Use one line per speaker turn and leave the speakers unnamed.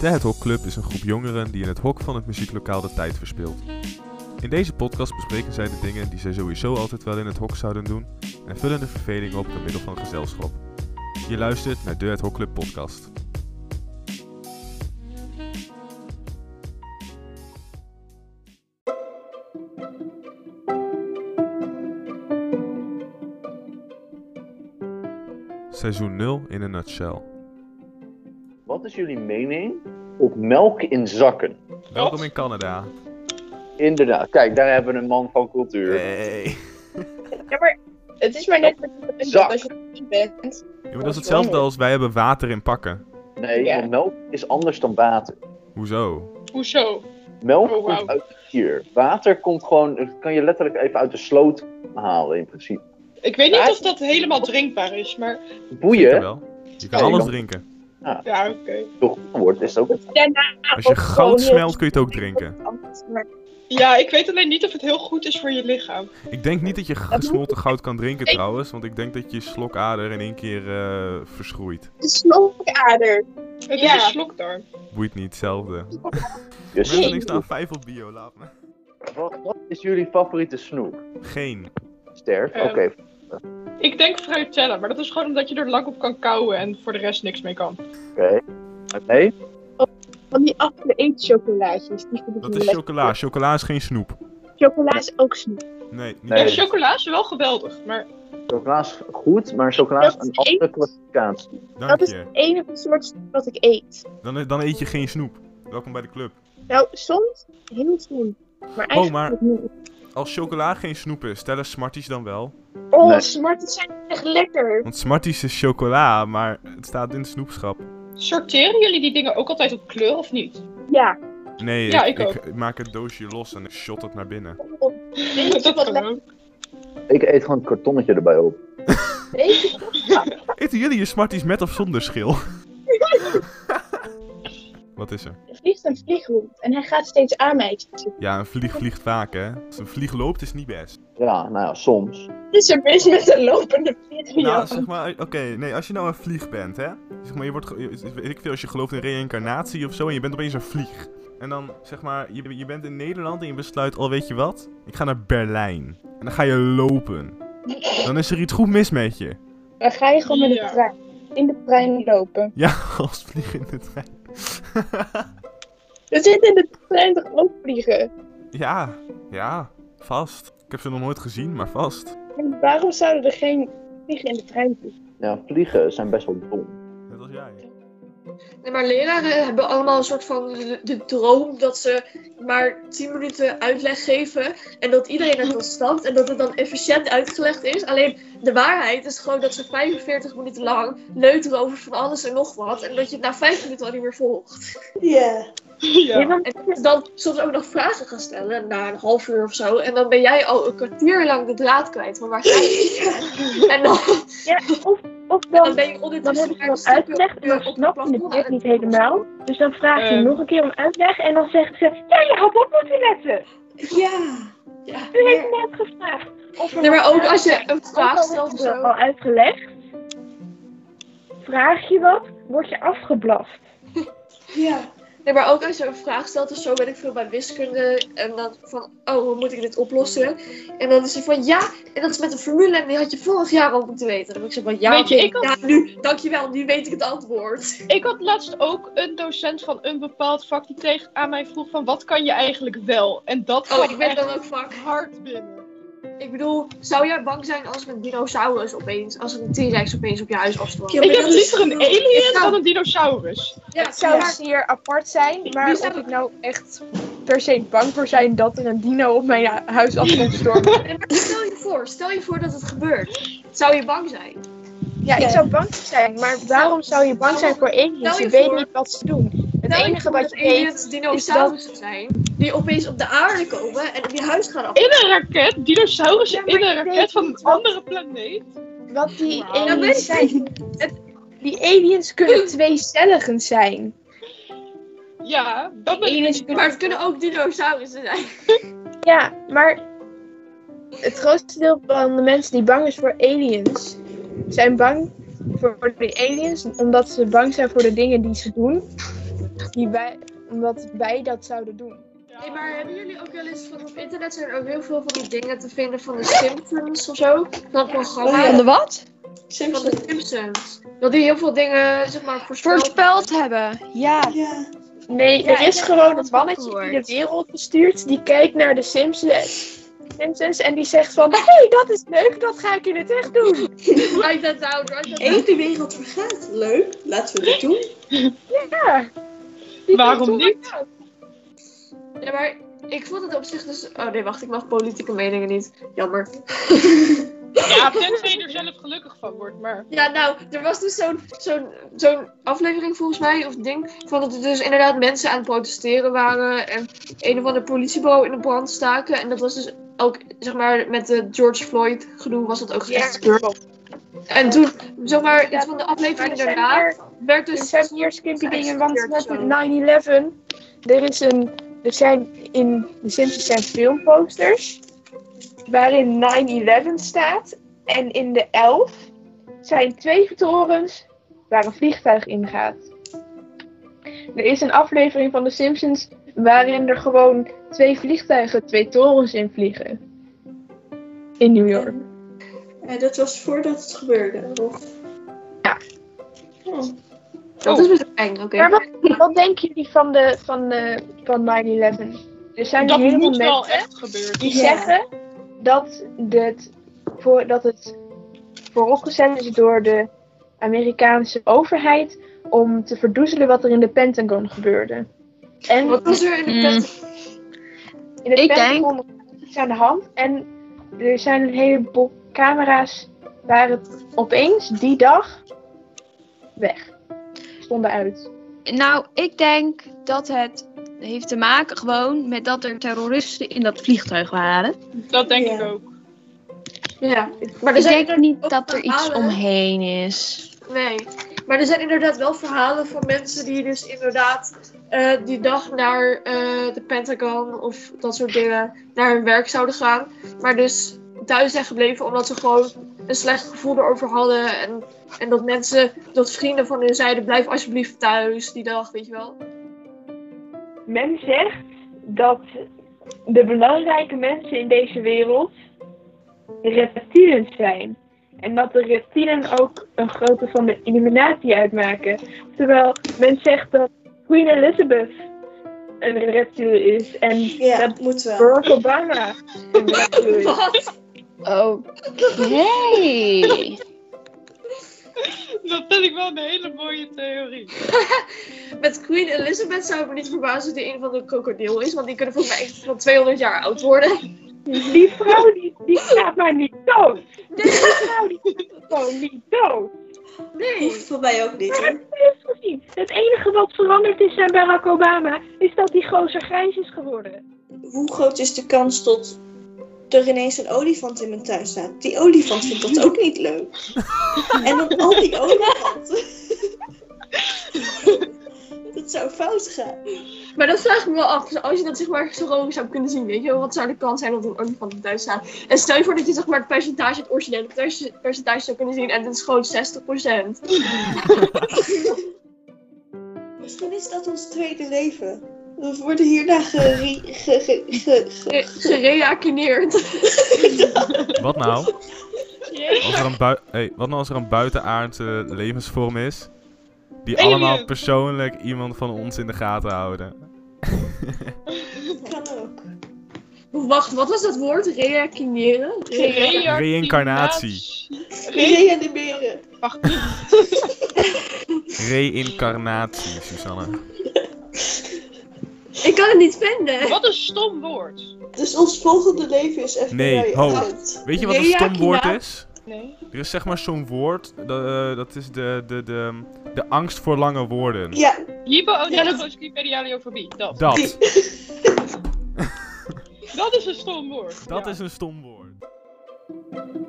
De Het Hok Club is een groep jongeren die in het hok van het muzieklokaal de tijd verspilt. In deze podcast bespreken zij de dingen die zij sowieso altijd wel in het hok zouden doen en vullen de verveling op door middel van gezelschap. Je luistert naar de Het Hok Club podcast. Seizoen 0 in een nutshell.
Wat is jullie mening op melk in zakken?
Welkom in Canada.
Inderdaad, kijk, daar hebben we een man van cultuur.
Hey.
Ja, maar het is maar net wat je bent
Zak.
als je niet bent.
Ja, maar dat is hetzelfde als wij hebben water in pakken.
Nee,
Ja.
want melk is anders dan water.
Hoezo?
Hoezo?
Melk
Oh, wauw.
komt uit het dier. Water komt gewoon, dat kan je letterlijk even uit de sloot halen in principe.
Ik weet niet
Maar-
of dat helemaal drinkbaar is, maar
Zeker
Boeien,
wel. Je kan
Ja, je
alles
kan-
drinken.
ja, oké.
die toch wordt, is het ook
Als je goud smelt kun je het ook drinken.
Maar
Ja, ik weet alleen niet of het heel goed is voor je lichaam.
Ik denk niet dat je gesmolten goud kan drinken trouwens, want ik denk dat je slokader in één keer eh, verschroeit.
de slokader.
Het
Ja.
is een slokdarm.
Boeit niet, hetzelfde.
dus.
Mensen, ik sta vijf op bio, laat me.
Wat, wat is jullie favoriete snoep?
Geen.
Sterf?
Eh.
Oké,
Ik denk fruitella, maar dat is gewoon omdat je er lang op kan kauwen en voor de rest niks mee kan.
oké. Nee?
Van die afgeëten chocolaatjes. Die vind ik
Dat
niet
is
lekker.
chocola. Chocola is geen snoep.
Chocola is ook snoep.
Nee, niet
Nee.
Ja,
eens.
chocola is wel geweldig, maar
Chocola is goed, maar chocola is
Dat
een
is
andere
één.
klassificatie.
Dank
Dat is
je.
het enige soort snoep wat ik eet.
Dan, dan eet je geen snoep. Welkom bij de club.
Nou, soms heel slim. Maar eigenlijk
Oh, maar-
niet.
Als chocola geen snoep is, stellen Smarties dan wel?
Oh,
Nee.
smarties zijn echt lekker.
Want Smarties is chocola, maar het staat in het snoepschap.
sorteren jullie die dingen ook altijd op kleur of niet?
Ja.
Nee,
Ja,
ik,
ik
ik maak het doosje los en ik shot het naar binnen.
Oh, weet je wat
dat kan
lekker
ook.
Ik eet gewoon het kartonnetje erbij op.
weet je wat-
Eten jullie je Smarties met of zonder schil? Wat is er?
Er vliegt een vlieg rond en hij gaat steeds aan mij zitten.
Ja, een vlieg vliegt vaak, hè? Als een vlieg loopt, is niet best.
Ja, nou ja, soms.
Dit is er mis met een lopende vlieg.
Nou,
Jan.
zeg maar, oké, nee, als je nou een vlieg bent, hè? Zeg maar, je wordt, ge- je- weet ik veel, als je gelooft in reïncarnatie of zo en je bent opeens een vlieg. En dan, zeg maar, je, je bent in Nederland en je besluit, al weet je wat? Ik ga naar Berlijn. En dan ga je lopen. Dan is er iets goed mis met je.
Dan ga je gewoon met de
Ja.
trein. In de trein lopen.
Ja, als vlieg in de trein.
Er zit in de trein toch ook vliegen?
ja, ja, vast. Ik heb ze nog nooit gezien, maar vast.
En waarom zouden er geen vliegen in de trein zitten?
Ja, vliegen zijn best wel dom.
Net als jij.
Nee, maar leraren hebben allemaal een soort van de, de droom dat ze maar 10 minuten uitleg geven en dat iedereen het dan snapt en dat het dan efficiënt uitgelegd is. Alleen de waarheid is gewoon dat ze 45 minuten lang leuteren over van alles en nog wat en dat je het na 5 minuten al niet meer volgt.
Ja.
Ja.
En dat ze dan soms ook nog vragen gaan stellen na een half uur of zo en dan ben jij al een kwartier lang de draad kwijt van waar ga je En dan,
of, of
dan
dan,
ben je
dan
ondertussen
heb ik
maar een
wel
stukje
uitgelegd,
uur
maar
op het
snapt je het
plafond
net
aan
niet
het
helemaal. Dus dan vraagt
Eh.
hij
Ehm.
nog een keer om uitleg en dan zegt ze... Ja, je had op moeten letten.
Ja. ja.
U heeft net gevraagd. Of er
Nee, maar
wat
ook als je
uitlegt.
een vraag
Ook al
stelt of
is het
zo.
al uitgelegd. Vraag je wat, word je afgeblaft.
Ja. Nee, maar ook als je een vraag stelt of zo, ben ik veel bij wiskunde. En dan van, oh, hoe moet ik dit oplossen? En dan is hij van, ja, en dat is met een formule en die had je vorig jaar al moeten weten. Dan heb ik zo van, ja,
Weet je,
oké,
ik had-
ja, nu, dankjewel, nu weet ik het antwoord.
Ik had laatst ook een docent van een bepaald vak die tegen aan mij vroeg van wat kan je eigenlijk wel? En dat
Oh,
kwam
ik ben
echt
dan ook vak.
hard binnen.
Ik bedoel, zou jij bang zijn als een dinosaurus opeens, als een T-Rex opeens op je huis afstroomt?
Ik heb liever een alien
Ja.
dan een dinosaurus.
Ja,
het zou
maar-
zeer apart zijn, maar
Die
of
zou-
ik nou echt per se bang voor zijn dat er een dino op mijn hu- huis af komt stormen.
Nee, maar stel je voor, stel je voor dat het gebeurt. Zou je bang zijn?
Ja, ik zou bang zijn, maar waarom zou je bang zijn voor aliens?
Stel je
Je weet
voor-
niet wat ze doen. Het
Stel je
enige
voor
wat je
dat
weet...
aliens dinosaurussen zijn die opeens op de aarde komen en op je huis gaan af.
In een raket, dinosaurussen
Ja, maar
in een
ik weet
raket van een
niet wat-
andere planeet.
Wat die
Wauw.
Ja, weet ik
aliens zijn.
Het-
Die aliens kunnen tweecelligend zijn.
Ja, dat ben ik
Aliens
niet.
kunnen-
Maar het kunnen ook dinosaurussen zijn.
Ja, maar het grootste deel van de mensen die bang is voor aliens, zijn bang voor de aliens omdat ze bang zijn voor de dingen die ze doen. die wij, omdat wij dat zouden doen.
Hey, maar hebben jullie ook wel eens van op internet zijn er ook heel veel van die dingen te vinden van de Simpsons of zo? Van programma
Van de wat?
van de Simpsons. Dat die heel veel dingen zeg maar voorspellen.
Voorspeld hebben. Ja.
Nee,
Ja,
er is
ik heb
gewoon
dat
een mannetje
gehoord.
die de wereld bestuurt, die kijkt naar de Simpsons. Simpsons en die zegt van, hé, hey, dat is leuk, dat ga ik in het echt doen.
Write that down, write that down.
Eén de wereld vergaat. Leuk, laten we dat doen.
Die
Waarom
doet
niet?
dat.
Ja, maar ik vond het op zich dus... Oh nee, wacht, ik mag politieke meningen niet. Jammer.
Ja, tenzij je er zelf gelukkig van wordt, maar...
Ja, nou, er was dus zo'n zo'n zo'n aflevering volgens mij, of ding, van dat er dus inderdaad mensen aan het protesteren waren en een of ander politiebureau in de brand staken. En dat was dus ook, zeg maar, met de George Floyd gedoe was dat ook gerechtsgebeurd. En toen, zeg maar, iets van de
Maar
aflevering
er zijn
daarna
meer-
werd
Er
dus...
zijn meer skimpy dingen, want
Geëxecuteerd
net
zo.
met 9-11, er is een, er zijn in de Simpsons zijn filmposters, waarin 9-11 staat. En in de 11 zijn twee torens waar een vliegtuig in gaat. Er is een aflevering van de Simpsons waarin er gewoon twee vliegtuigen twee torens in vliegen. In New York.
Eh, dat was voordat het gebeurde. Of... Oh.
Dat is best eng, oké.
Maar wat, wat denken jullie van, de, van, de, van 9-11? Er zijn
Dat
hele
moet
momenten
wel echt gebeuren.
die
Ja.
zeggen dat, dit voor, dat het vooropgezet is door de Amerikaanse overheid om te verdoezelen wat er in de Pentagon gebeurde. En
Wat was er in de
Mm.
pers?
in de
Ik
Pentagon was iets aan de hand en er zijn een heleboel camera's waar het opeens die dag weg stonden uit.
Nou, ik denk dat het heeft te maken gewoon met dat er terroristen in dat vliegtuig waren.
Dat denk
Ja.
ik ook.
Ja, maar er
ik
zijn
denk niet
ook
dat er iets
verhalen.
omheen is.
Nee, maar er zijn inderdaad wel verhalen van mensen die dus inderdaad eh, die dag naar eh, de Pentagon of dat soort dingen naar hun werk zouden gaan. Maar dus thuis zijn gebleven omdat ze gewoon een slecht gevoel erover hadden. En, en dat mensen, dat vrienden van hun zeiden, blijf alsjeblieft thuis die dag, weet je wel.
Men zegt dat de belangrijke mensen in deze wereld reptielen zijn. En dat de reptielen ook een grote van de illuminatie uitmaken. Terwijl men zegt dat Queen Elizabeth een reptiel is en
Ja,
dat
dat moet wel.
Barack Obama een reptiel is.
Oh.
Oké.
Dat vind ik wel een hele mooie theorie.
Met Queen Elizabeth zou ik me niet verbazen dat die een van de krokodil is, want die kunnen volgens mij echt van 200 jaar oud worden.
Die vrouw die, die gaat maar niet dood. Die vrouw die gaat gewoon niet dood.
Hoeft voor mij ook niet hoor.
Heeft gezien. Het enige wat veranderd is aan Barack Obama is dat die gozer grijs is geworden.
Hoe groot is de kans dat er ineens een olifant in mijn tuin staat? Die olifant vindt dat ook niet leuk. En dan al die olifanten. dat zou fout gaan.
Maar dat vraag ik me wel af. dus Als je dat zeg maar zo gewoon zou kunnen zien, weet je wel, wat zou de kans zijn dat een olifant in thuis staat? En stel je voor dat je zeg maar het percentage, het originele pers- percentage zou kunnen zien en dat is gewoon 60%.
Misschien is dat ons tweede leven. We worden hierna gere- ge- ge- ge-
Ge-
ge-
Gereakineerd.
Wat nou? Als er een bui- hey, wat nou als er een buitenaardse levensvorm is? Die
Alien.
allemaal persoonlijk iemand van ons in de gaten houden.
kan ook.
Wacht, wat was dat woord? Reakineren?
Reïncarnatie.
Reanimeren.
Wacht,
Reïncarnatie, Susanne.
Ik kan het niet vinden.
wat een stom woord.
Dus ons volgende leven is echt
Nee,
bij
ho.
oud.
Weet je wat een stom woord
Reakina.
is?
Nee.
Er is zeg maar zo'n woord, dat, eh, dat is de, de, de, de angst voor lange woorden.
Ja,
Hypoondergooscripedialiofobie. Dat.
Dat,
dat is een stom woord.
dat
Ja.
is een stom woord.